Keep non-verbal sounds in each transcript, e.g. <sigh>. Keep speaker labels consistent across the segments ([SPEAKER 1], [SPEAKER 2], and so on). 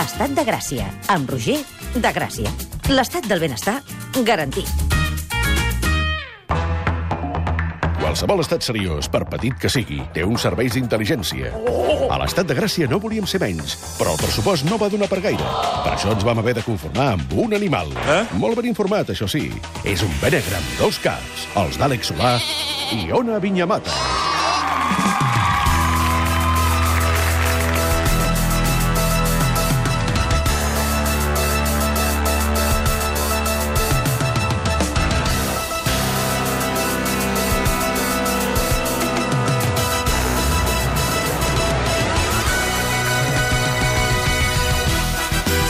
[SPEAKER 1] Estat de Gràcia, amb Roger de Gràcia. L'estat del benestar garantit.
[SPEAKER 2] Qualsevol estat seriós, per petit que sigui, té uns serveis d'intel·ligència. A l'estat de Gràcia no volíem ser menys, però el pressupost no va donar per gaire. Per això ens vam haver de conformar amb un animal. Eh? Molt ben informat, això sí. És un benegre amb dos caps, els d'Àlex Solà i Ona Vinyamata.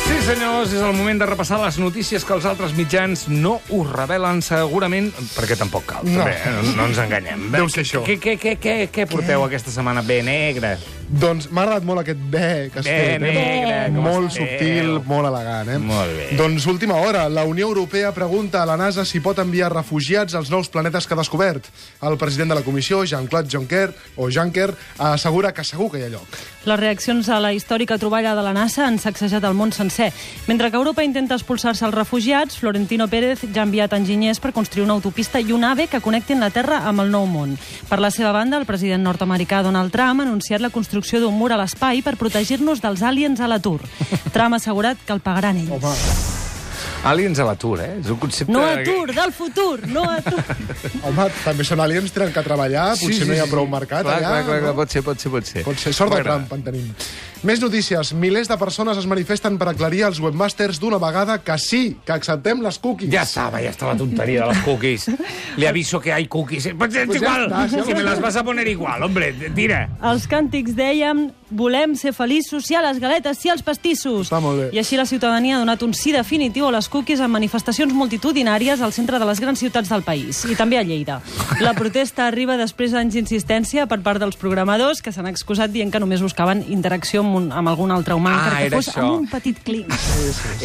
[SPEAKER 3] Sí, senyors, és el moment de repassar les notícies que els altres mitjans no us revelen segurament, perquè tampoc cal, no. també, eh? no, no ens enganyem.
[SPEAKER 4] Deu ser això. Eh?
[SPEAKER 3] Què, què, què, què, què porteu què? aquesta setmana bé negra?
[SPEAKER 4] Doncs m'ha agradat molt aquest bé que has
[SPEAKER 3] Bé,
[SPEAKER 4] fet.
[SPEAKER 3] negre, com
[SPEAKER 4] molt
[SPEAKER 3] esteu?
[SPEAKER 4] subtil, molt elegant. Eh?
[SPEAKER 3] Molt bé.
[SPEAKER 4] Doncs última hora. La Unió Europea pregunta a la NASA si pot enviar refugiats als nous planetes que ha descobert. El president de la comissió, Jean-Claude Juncker, o Juncker, assegura que segur que hi ha lloc.
[SPEAKER 5] Les reaccions a la històrica troballa de la NASA han sacsejat el món sencer. Mentre que Europa intenta expulsar-se els refugiats, Florentino Pérez ja ha enviat enginyers per construir una autopista i un ave que connectin la Terra amb el nou món. Per la seva banda, el president nord-americà Donald Trump ha anunciat la construcció d'un mur a l'espai per protegir-nos dels aliens a l'atur. Trump ha assegurat que el pagaran ells.
[SPEAKER 4] Home,
[SPEAKER 3] Aliens a l'atur, eh? És un concepte...
[SPEAKER 5] No atur, del futur, no atur.
[SPEAKER 4] home també són aliens, tenen que treballar, potser no hi ha prou mercat
[SPEAKER 3] clar,
[SPEAKER 4] allà.
[SPEAKER 3] Clar, clar, clar,
[SPEAKER 4] no?
[SPEAKER 3] pot ser, pot ser, pot ser.
[SPEAKER 4] Pot ser sort de
[SPEAKER 3] Bueno,
[SPEAKER 4] Trump, en tenim. Més notícies. Milers de persones es manifesten per aclarir als webmasters d'una vegada que sí, que acceptem les cookies.
[SPEAKER 3] Ja estava, ya estaba la tontería de los cookies. Le aviso que hay cookies. Pues, es
[SPEAKER 4] Pues ya
[SPEAKER 3] igual,
[SPEAKER 4] está, sí,
[SPEAKER 3] si me
[SPEAKER 4] hombre.
[SPEAKER 3] las vas a poner igual, hombre, tira.
[SPEAKER 5] Els càntics deien volem ser feliços, sí a les galetes, sí als pastissos.
[SPEAKER 4] Està molt bé.
[SPEAKER 5] I així la ciutadania ha donat un sí definitiu a les cookies en manifestacions multitudinàries al centre de les grans ciutats del país, i també a Lleida. La protesta arriba després d'anys d'insistència per part dels programadors, que s'han excusat dient que només buscaven interacció amb, un, amb algun altre humà,
[SPEAKER 3] Ah,
[SPEAKER 5] encara que
[SPEAKER 3] era
[SPEAKER 5] fos
[SPEAKER 3] això.
[SPEAKER 5] amb un petit clic.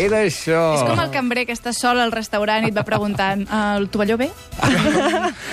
[SPEAKER 3] Era això.
[SPEAKER 6] És com
[SPEAKER 4] Ah.
[SPEAKER 6] el cambrer que està sol al restaurant i et va preguntant "Eh, el tovalló
[SPEAKER 4] <laughs>
[SPEAKER 6] bé?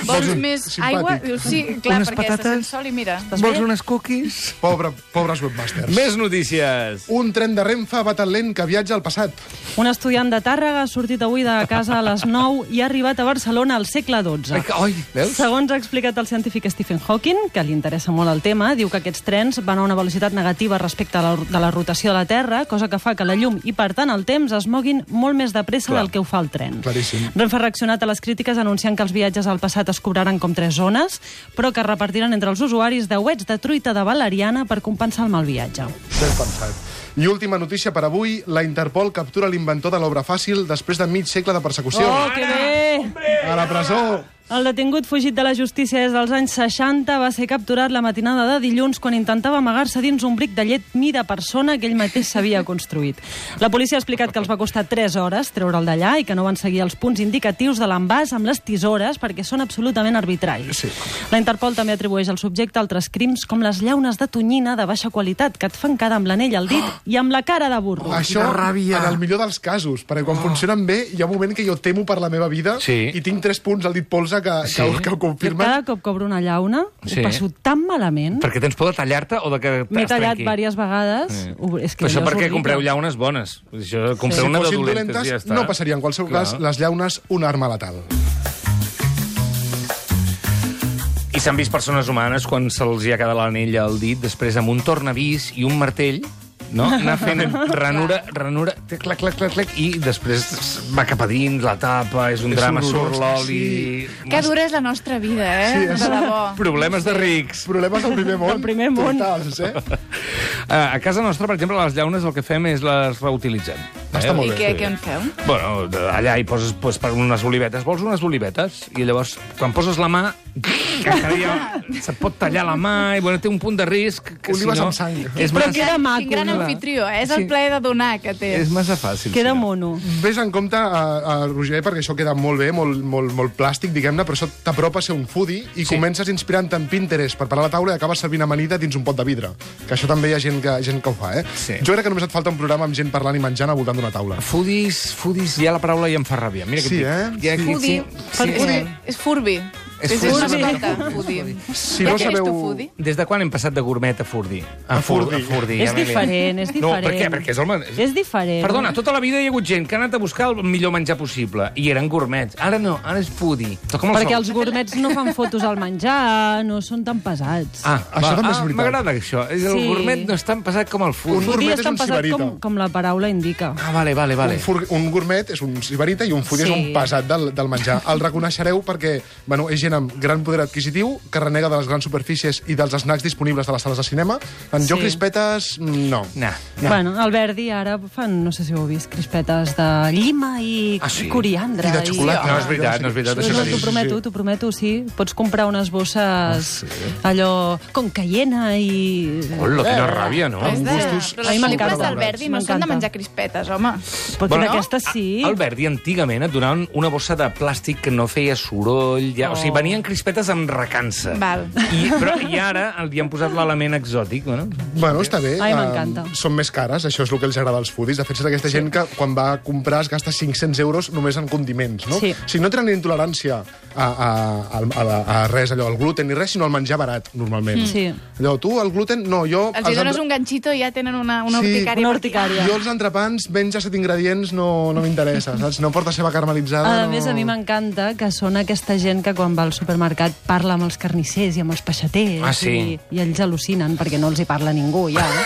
[SPEAKER 6] Vols més
[SPEAKER 4] Doncs Simpàtic.
[SPEAKER 6] aigua? Dius, sí, clar,
[SPEAKER 3] Unes
[SPEAKER 6] perquè patates?
[SPEAKER 3] patates?
[SPEAKER 6] estàs sol i mira.
[SPEAKER 3] Vols unes cookies?
[SPEAKER 4] Pobre, pobres webmasters.
[SPEAKER 3] Més notícies.
[SPEAKER 4] Un tren de Renfe va tan lent que viatja al passat.
[SPEAKER 5] Un estudiant de Tàrrega ha sortit avui de casa a les 9 i ha arribat a Barcelona al segle XII.
[SPEAKER 3] Ai, veus?
[SPEAKER 5] Segons ha explicat el científic Stephen Hawking, que li interessa molt el tema, diu que aquests trens van a una velocitat negativa respecte a la, de la rotació de la Terra, cosa que fa que la llum i, per tant, el temps es moguin molt més de pressa del que ho fa el tren.
[SPEAKER 4] Claríssim.
[SPEAKER 5] Renfe ha reaccionat a les crítiques anunciant que els viatges al passat es cobraran com tres zones, però que es repartiran entre els usuaris deuets de truita de valeriana per compensar el mal viatge.
[SPEAKER 4] Ben pensat. I última notícia per avui. La Interpol captura l'inventor de l'obra fàcil després de mig segle de persecució.
[SPEAKER 5] Oh, que bé!
[SPEAKER 4] A la presó.
[SPEAKER 5] El detingut fugit de la justícia des dels anys 60 va ser capturat la matinada de dilluns quan intentava amagar-se dins un bric de llet mida persona que ell mateix s'havia construït. La policia ha explicat que els va costar 3 hores treure'l d'allà i que no van seguir els punts indicatius de l'envàs amb les tisores perquè són absolutament arbitraris. Sí. La Interpol també atribueix al subjecte altres crims com les llaunes de tonyina de baixa qualitat que et fan quedar amb l'anell al dit i amb la cara de burro.
[SPEAKER 4] Això,
[SPEAKER 3] ràbia.
[SPEAKER 4] en el millor dels casos, perquè quan funcionen bé, hi ha un moment que jo temo per la meva vida
[SPEAKER 3] Sí.
[SPEAKER 4] i tinc tres punts al dit polze que, sí. que, que ho
[SPEAKER 5] Jo
[SPEAKER 4] confirmen.
[SPEAKER 5] cada cop cobro una llauna,
[SPEAKER 3] Sí.
[SPEAKER 5] ho passo tan malament...
[SPEAKER 3] Perquè tens por de tallar-te o de que
[SPEAKER 5] M'he
[SPEAKER 3] t'has
[SPEAKER 5] tallat
[SPEAKER 3] trenqui?
[SPEAKER 5] diverses vegades.
[SPEAKER 3] Sí.
[SPEAKER 5] Ho- És que
[SPEAKER 3] Però això
[SPEAKER 5] allò és
[SPEAKER 3] perquè
[SPEAKER 5] horrible.
[SPEAKER 3] compreu llaunes bones. Això, compreu una de
[SPEAKER 4] fossin
[SPEAKER 3] dolentes, i ja està.
[SPEAKER 4] no passaria. En qualsevol
[SPEAKER 3] Clar.
[SPEAKER 4] cas, les llaunes, una arma letal.
[SPEAKER 3] I s'han vist persones humanes quan se'ls hi ha quedat l'anell al dit, després amb un tornavís i un martell, no? Anar
[SPEAKER 4] <laughs>
[SPEAKER 3] fent ranura, ranura, clac, clac, clac, clac, clac, i després va cap a dins, la tapa, és un
[SPEAKER 4] És
[SPEAKER 3] drama,
[SPEAKER 4] horrorós,
[SPEAKER 3] surt l'oli...
[SPEAKER 6] Que dura és la nostra vida, eh?
[SPEAKER 4] Sí, és-
[SPEAKER 6] de debò.
[SPEAKER 3] Problemes de rics.
[SPEAKER 4] Problemes del primer món.
[SPEAKER 5] Del primer món.
[SPEAKER 4] Totals, eh?
[SPEAKER 3] Ah, A casa nostra, per exemple, les llaunes el que fem és les reutilitzem.
[SPEAKER 4] Està molt
[SPEAKER 6] I què,
[SPEAKER 4] bé.
[SPEAKER 6] què en feu?
[SPEAKER 3] Bueno, allà hi poses pues, per unes olivetes. Vols unes olivetes? I llavors, quan poses la mà, encara hi ha- se't pot tallar la mà, i bueno, té un punt de risc. Que,
[SPEAKER 4] Olives
[SPEAKER 3] si no,
[SPEAKER 4] amb sang.
[SPEAKER 3] És
[SPEAKER 5] Però
[SPEAKER 3] massa,
[SPEAKER 5] queda maco,
[SPEAKER 6] Quin gran
[SPEAKER 5] no?
[SPEAKER 6] anfitrió, eh? és el
[SPEAKER 3] Sí.
[SPEAKER 6] plaer de donar que té.
[SPEAKER 3] és massa fàcil.
[SPEAKER 5] Queda
[SPEAKER 3] si no.
[SPEAKER 5] mono.
[SPEAKER 4] Ves en compte, a, a Roger, perquè això queda molt bé, molt, molt, molt plàstic, diguem-ne, però això t'apropa a ser un foodie
[SPEAKER 3] Sí.
[SPEAKER 4] i sí. comences inspirant en Pinterest per parar la taula i acabes servint amanida dins un pot de vidre. Que això també hi ha gent que, gent que ho fa, eh?
[SPEAKER 3] Sí.
[SPEAKER 4] Jo crec que només et falta un programa amb gent parlant i menjant al voltant d'una taula.
[SPEAKER 3] Foodies, foodies, ja la paraula ja em fa ràbia. Mira
[SPEAKER 4] Sí,
[SPEAKER 3] que
[SPEAKER 4] eh?
[SPEAKER 3] Ja,
[SPEAKER 4] Sí.
[SPEAKER 3] que,
[SPEAKER 6] Furbi.
[SPEAKER 3] sí, sí.
[SPEAKER 6] És, és furbi.
[SPEAKER 3] És
[SPEAKER 6] Sí, sí, és una
[SPEAKER 5] foodie.
[SPEAKER 6] miqueta foodie.
[SPEAKER 4] Si
[SPEAKER 6] Ja
[SPEAKER 4] no
[SPEAKER 6] que és tu
[SPEAKER 4] sabeu-
[SPEAKER 6] foodie.
[SPEAKER 3] Des de quan hem passat de gourmet a furdi?
[SPEAKER 4] A furdi.
[SPEAKER 3] A furdi
[SPEAKER 5] És
[SPEAKER 3] ja m'he liat.
[SPEAKER 5] diferent, és diferent.
[SPEAKER 3] No, per què? Perquè és el... men-
[SPEAKER 5] És diferent.
[SPEAKER 3] Perdona, tota la vida hi ha hagut gent que ha anat a buscar el millor menjar possible i eren gourmets. Ara no, ara és foodie. Però com
[SPEAKER 5] Perquè
[SPEAKER 3] sou?
[SPEAKER 5] els gourmets no fan fotos al menjar, no són tan pesats.
[SPEAKER 3] Ah,
[SPEAKER 4] Això
[SPEAKER 3] va,
[SPEAKER 4] també
[SPEAKER 3] ah,
[SPEAKER 4] és veritat.
[SPEAKER 3] M'agrada això. És El
[SPEAKER 5] Sí.
[SPEAKER 3] gourmet no és tan pesat com el
[SPEAKER 5] Un
[SPEAKER 3] foodie.
[SPEAKER 4] Un
[SPEAKER 5] foodie
[SPEAKER 4] gourmet
[SPEAKER 5] és
[SPEAKER 4] és
[SPEAKER 5] tan
[SPEAKER 4] un
[SPEAKER 5] pesat
[SPEAKER 4] sibarita.
[SPEAKER 5] com, com la paraula indica.
[SPEAKER 3] Ah, vale, vale, vale.
[SPEAKER 4] Un, fur, un gourmet és un sibarita i un foodie
[SPEAKER 5] Sí.
[SPEAKER 4] és un pesat del, del menjar. El reconeixereu perquè bueno, és gent amb gran poder adquisitiu que renega de les grans superfícies i dels snacks disponibles de les sales de cinema. En
[SPEAKER 5] Sí.
[SPEAKER 4] sí. jo crispetes, no.
[SPEAKER 3] Nah.
[SPEAKER 5] No. Bueno, al Verdi ara fan, no sé si ho heu vist, crispetes de llima i
[SPEAKER 3] Ah, sí?
[SPEAKER 5] coriandre.
[SPEAKER 4] I de xocolata.
[SPEAKER 3] No, és veritat, no és veritat.
[SPEAKER 5] No,
[SPEAKER 3] Això
[SPEAKER 5] no,
[SPEAKER 3] sí. Ah,
[SPEAKER 5] t'ho prometo, t'ho prometo, sí. Pots comprar unes bosses allò con cayena i...
[SPEAKER 3] Hola, quina
[SPEAKER 5] Eh,
[SPEAKER 3] ràbia, no?
[SPEAKER 6] És de...
[SPEAKER 4] gustos
[SPEAKER 6] Però les
[SPEAKER 5] supervalorats.
[SPEAKER 6] xicles del Verdi no són
[SPEAKER 5] M'encanta.
[SPEAKER 6] de menjar crispetes, home.
[SPEAKER 5] Però
[SPEAKER 3] Bueno,
[SPEAKER 5] bueno, aquesta sí.
[SPEAKER 3] Al Verdi, antigament, et donaven una bossa de plàstic que no feia soroll. Ja,
[SPEAKER 5] Oh.
[SPEAKER 3] O sigui, venien crispetes amb recança.
[SPEAKER 6] Val.
[SPEAKER 3] I, però, I ara li han posat l'element exòtic, bueno.
[SPEAKER 4] Bueno, està bé.
[SPEAKER 5] Ai,
[SPEAKER 4] eh,
[SPEAKER 5] m'encanta.
[SPEAKER 4] són més cares, això és el que els agrada als foodies. De fet, és aquesta gent que quan va a comprar es gasta 500 euros només en condiments, no?
[SPEAKER 5] Sí.
[SPEAKER 4] O sigui, no tenen intolerància a, a, a, a, a res, allò, al gluten ni res, sinó al menjar barat, normalment.
[SPEAKER 5] Mm. Sí.
[SPEAKER 4] Allò, tu, el gluten, no, jo...
[SPEAKER 6] Els hi
[SPEAKER 4] els
[SPEAKER 6] dones
[SPEAKER 4] altres-
[SPEAKER 6] un ganxito i ja tenen una, una
[SPEAKER 4] Sí.
[SPEAKER 6] urticària.
[SPEAKER 5] Una urticària.
[SPEAKER 4] Jo els entrepans, menja set ingredients, no, no m'interessa, saps? No porta ceba caramelitzada...
[SPEAKER 5] A
[SPEAKER 3] Ah.
[SPEAKER 4] no...
[SPEAKER 5] més, a mi m'encanta que són aquesta gent que quan va al supermercat parla amb els carnissers i amb els peixaters
[SPEAKER 3] Ah, sí?
[SPEAKER 5] i, i ells al·lucinen perquè no els hi parla ningú, ja.
[SPEAKER 3] <laughs>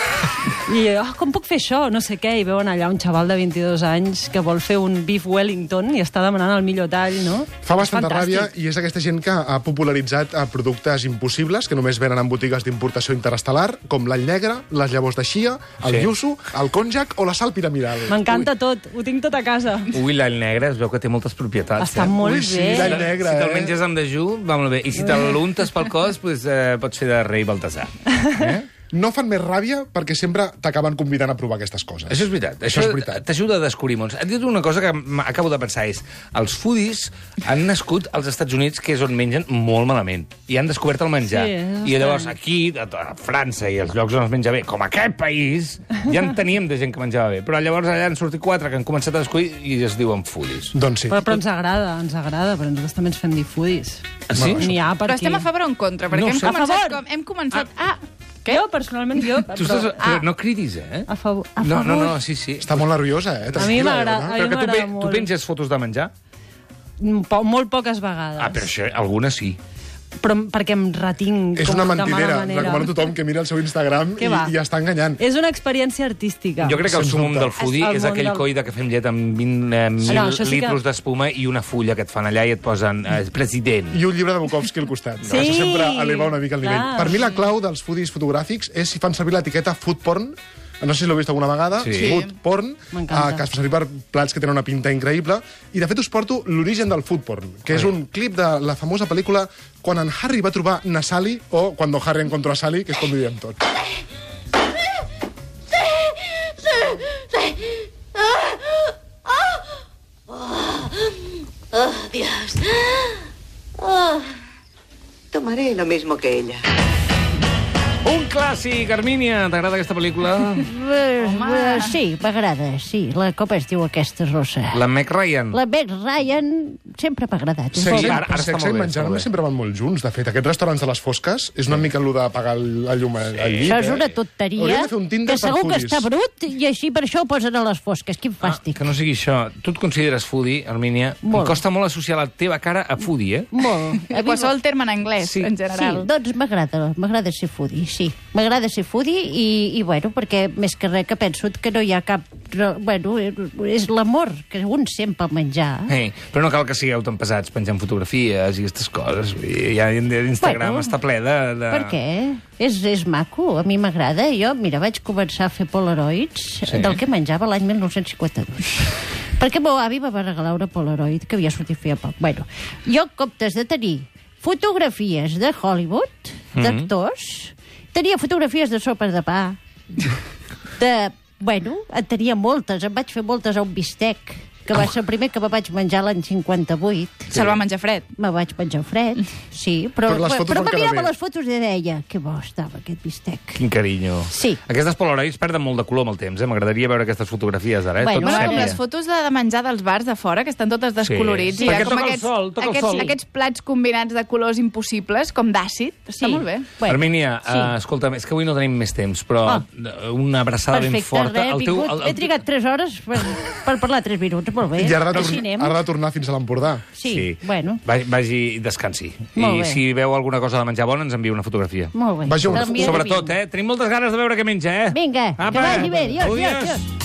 [SPEAKER 5] I, oh, com puc fer això? No sé què. I veuen allà un xaval de 22 anys que vol fer un beef wellington i està demanant el millor tall, no?
[SPEAKER 4] Fa
[SPEAKER 5] És
[SPEAKER 4] bastanta
[SPEAKER 5] fantàstic.
[SPEAKER 4] ràbia i és aquesta gent que ha popularitzat eh, productes impossibles que només venen en botigues d'importació interestel·lar, com l'all negre, les llavors de xia, el
[SPEAKER 3] Sí.
[SPEAKER 4] sí. yuzu, el konjac o la sal piramidal.
[SPEAKER 5] M'encanta tot. Ho tinc tot a casa.
[SPEAKER 3] Ui, l'all negre es veu que té moltes propietats.
[SPEAKER 5] Està
[SPEAKER 3] eh?
[SPEAKER 5] molt
[SPEAKER 4] Ui, sí,
[SPEAKER 5] bé.
[SPEAKER 4] l'all negre,
[SPEAKER 3] si te'l
[SPEAKER 4] eh?
[SPEAKER 3] menges amb dejú, va molt bé. I si te l'untes pel cos, doncs, eh, pots fer de rei Baltasar. Eh?
[SPEAKER 4] No fan més ràbia perquè sempre t'acaben convidant a provar aquestes coses.
[SPEAKER 3] Això és veritat. Això,
[SPEAKER 4] Això és veritat.
[SPEAKER 3] T'ajuda a descobrir mons. Et dit una cosa que acabo de pensar és els foodies han nascut als Estats Units, que és on mengen molt malament, i han descobert el menjar.
[SPEAKER 5] Sí, és
[SPEAKER 3] I llavors
[SPEAKER 5] estrany.
[SPEAKER 3] aquí, a, to- a França i els llocs on es menja bé, com aquest país, ja en teníem de gent que menjava bé. Però llavors allà han sortit quatre que han començat a descobrir i es diuen foodies.
[SPEAKER 4] Doncs sí.
[SPEAKER 5] Però, però ens agrada, ens agrada, però nosaltres també ens fem difudis.
[SPEAKER 3] Ah, sí?
[SPEAKER 5] N'hi ha per
[SPEAKER 6] Però
[SPEAKER 5] aquí.
[SPEAKER 6] estem a favor o en contra? Perquè
[SPEAKER 3] No ho
[SPEAKER 6] hem
[SPEAKER 3] sé. A
[SPEAKER 6] començat,
[SPEAKER 5] favor.
[SPEAKER 6] com, hem començat... Ah,
[SPEAKER 5] Què? Jo, personalment, jo...
[SPEAKER 3] Tu estàs...
[SPEAKER 5] però-
[SPEAKER 3] Ah. No cridis, eh?
[SPEAKER 5] A favor. A
[SPEAKER 3] No, no,
[SPEAKER 5] favor.
[SPEAKER 3] no, sí, sí.
[SPEAKER 4] Està molt nerviosa, eh?
[SPEAKER 5] A mi
[SPEAKER 4] Tranquil·la, Elena.
[SPEAKER 5] m'agrada- a mi
[SPEAKER 3] Però que tu,
[SPEAKER 5] m'agrada
[SPEAKER 3] pe- tu
[SPEAKER 5] molt.
[SPEAKER 3] penges fotos de menjar?
[SPEAKER 5] Mm, Po molt poques vegades.
[SPEAKER 3] Ah, però això, algunes sí.
[SPEAKER 5] però perquè em retinc
[SPEAKER 4] És
[SPEAKER 5] com
[SPEAKER 4] una
[SPEAKER 5] de mala
[SPEAKER 4] mentidera.
[SPEAKER 5] manera.
[SPEAKER 4] Recomano a tothom que miri el seu Instagram
[SPEAKER 5] Què
[SPEAKER 4] i,
[SPEAKER 5] va?
[SPEAKER 4] i està enganyant.
[SPEAKER 5] És una experiència artística.
[SPEAKER 3] Jo crec que el
[SPEAKER 4] Sens
[SPEAKER 3] sumum
[SPEAKER 4] dubte.
[SPEAKER 3] del foodie
[SPEAKER 5] El
[SPEAKER 3] és
[SPEAKER 5] món
[SPEAKER 3] aquell
[SPEAKER 5] del-
[SPEAKER 3] coi de que fem llet amb 20 eh, mil
[SPEAKER 5] No, això sí que-
[SPEAKER 3] litros d'espuma i una fulla que et fan allà i et posen eh, president.
[SPEAKER 4] i un llibre de Bukowski al costat.
[SPEAKER 5] Sí,
[SPEAKER 4] Això sempre eleva una mica el nivell.
[SPEAKER 5] clar.
[SPEAKER 4] Per mi la clau dels foodies fotogràfics és si fan servir l'etiqueta food porn, no sé si l'heu vist alguna vegada,
[SPEAKER 3] Sí.
[SPEAKER 4] food porn, eh,
[SPEAKER 5] M'encanta.
[SPEAKER 4] que es fa servir per plats que tenen una pinta increïble. I, de fet, us porto l'origen del food porn, que és un clip de la famosa pel·lícula Quan en Harry va trobar na Sally, o Quan Harry encontró a Sally, que és com ho diem tot.
[SPEAKER 7] Oh, Dios. Oh. Tomaré lo mismo que ella.
[SPEAKER 3] Un clàssic, Armínia! T'agrada aquesta pel·lícula?
[SPEAKER 8] Eh, Sí, m'agrada, sí. La, com es diu aquesta rossa?
[SPEAKER 3] La Meg Ryan.
[SPEAKER 8] La Meg Ryan sempre m'ha agradat. És
[SPEAKER 3] Sí.
[SPEAKER 8] molt-
[SPEAKER 4] Sexe,
[SPEAKER 3] ara- ara està
[SPEAKER 4] sexe
[SPEAKER 3] molt
[SPEAKER 4] i
[SPEAKER 3] bé,
[SPEAKER 4] menjar
[SPEAKER 3] està molt
[SPEAKER 4] només
[SPEAKER 3] bé.
[SPEAKER 4] sempre van molt junts, de fet. Aquests restaurants de les fosques és una mica el de pagar el- la llum al al llit.
[SPEAKER 8] Això és
[SPEAKER 4] eh?
[SPEAKER 8] una tonteria,
[SPEAKER 4] Hauríem de fer un Tinder
[SPEAKER 8] que
[SPEAKER 4] per Ah,
[SPEAKER 8] segur que
[SPEAKER 4] foodies.
[SPEAKER 8] està brut i així per això ho posen a les fosques. Quin fàstic.
[SPEAKER 3] Ah, Que no sigui això. Tu et consideres foodie, Armínia?
[SPEAKER 8] Molt.
[SPEAKER 3] Em costa molt associar la teva cara a foodie, eh?
[SPEAKER 8] Molt.
[SPEAKER 6] ah, qualsevol terme en anglès,
[SPEAKER 3] Sí,
[SPEAKER 6] en
[SPEAKER 8] Sí,
[SPEAKER 6] general.
[SPEAKER 8] doncs m'agrada, m'agrada ser foodie, sí. M'agrada ser foodie i, i, bueno, perquè més que res que penso que no hi ha cap... no, Bueno, és l'amor que un sent pel menjar.
[SPEAKER 3] Hey, però no cal que sigueu tan pesats penjant fotografies i aquestes coses. Vull dir, Ja Instagram
[SPEAKER 8] Bueno.
[SPEAKER 3] està ple de... de...
[SPEAKER 8] Per què? És, és maco, a mi m'agrada. Jo, mira, vaig començar a fer polaroids
[SPEAKER 3] Sí.
[SPEAKER 8] sí. del que menjava l'any 1952. Perquè meu avi em va regalar una polaroid que havia sortit feia poc. Bueno, jo, en comptes de tenir fotografies de Hollywood, d'actors, tenia fotografies de sopes de pa, de... Bueno, en tenia moltes, em vaig fer moltes a un bistec.
[SPEAKER 5] que va ser el primer que me vaig menjar l'any 58.
[SPEAKER 6] Se'l va menjar fred.
[SPEAKER 5] Me vaig menjar fred, sí, però,
[SPEAKER 4] Però les fotos
[SPEAKER 5] però
[SPEAKER 4] van
[SPEAKER 5] me
[SPEAKER 4] quedar
[SPEAKER 5] mirava
[SPEAKER 4] bé.
[SPEAKER 5] les fotos i deia que bo estava aquest bistec.
[SPEAKER 3] Quin carinyo.
[SPEAKER 5] Sí.
[SPEAKER 3] Aquestes polaroids perden molt de color amb el temps, eh? M'agradaria veure aquestes fotografies ara, eh?
[SPEAKER 5] Bueno,
[SPEAKER 3] Tot
[SPEAKER 6] Bueno, com
[SPEAKER 3] sèpia.
[SPEAKER 6] les fotos de, de menjar dels bars de fora, que estan totes descolorits.
[SPEAKER 3] Sí,
[SPEAKER 6] hi ha
[SPEAKER 3] perquè
[SPEAKER 6] com
[SPEAKER 3] toca el
[SPEAKER 6] aquests,
[SPEAKER 3] sol, toca el
[SPEAKER 6] aquests,
[SPEAKER 3] sol.
[SPEAKER 6] aquests plats combinats de colors impossibles, com d'àcid. Està molt bé.
[SPEAKER 3] Bueno, Armínia,
[SPEAKER 5] sí.
[SPEAKER 3] sí. uh, escolta'm, és que avui no tenim més temps, però
[SPEAKER 5] Ah.
[SPEAKER 3] eh, una abraçada ben forta.
[SPEAKER 5] Res, el teu, el, He trigat 3 hores per, per parlar 3 minuts, molt bé.
[SPEAKER 4] I ara ha, de
[SPEAKER 5] Així
[SPEAKER 4] torn-
[SPEAKER 5] anem.
[SPEAKER 4] ara ha de tornar fins a l'Empordà.
[SPEAKER 5] Sí, sí, bueno,
[SPEAKER 3] Vagi, vagi i descansi.
[SPEAKER 5] Molt
[SPEAKER 3] I
[SPEAKER 5] bé.
[SPEAKER 3] si veu alguna cosa de menjar bona, ens envia una fotografia.
[SPEAKER 5] molt bé.
[SPEAKER 4] Vagi una-
[SPEAKER 5] Canvia de
[SPEAKER 3] Sobretot,
[SPEAKER 5] vint.
[SPEAKER 3] eh? Tenim moltes ganes de veure què menja, eh?
[SPEAKER 5] Vinga, que vagi bé. Adiós, adiós, adiós.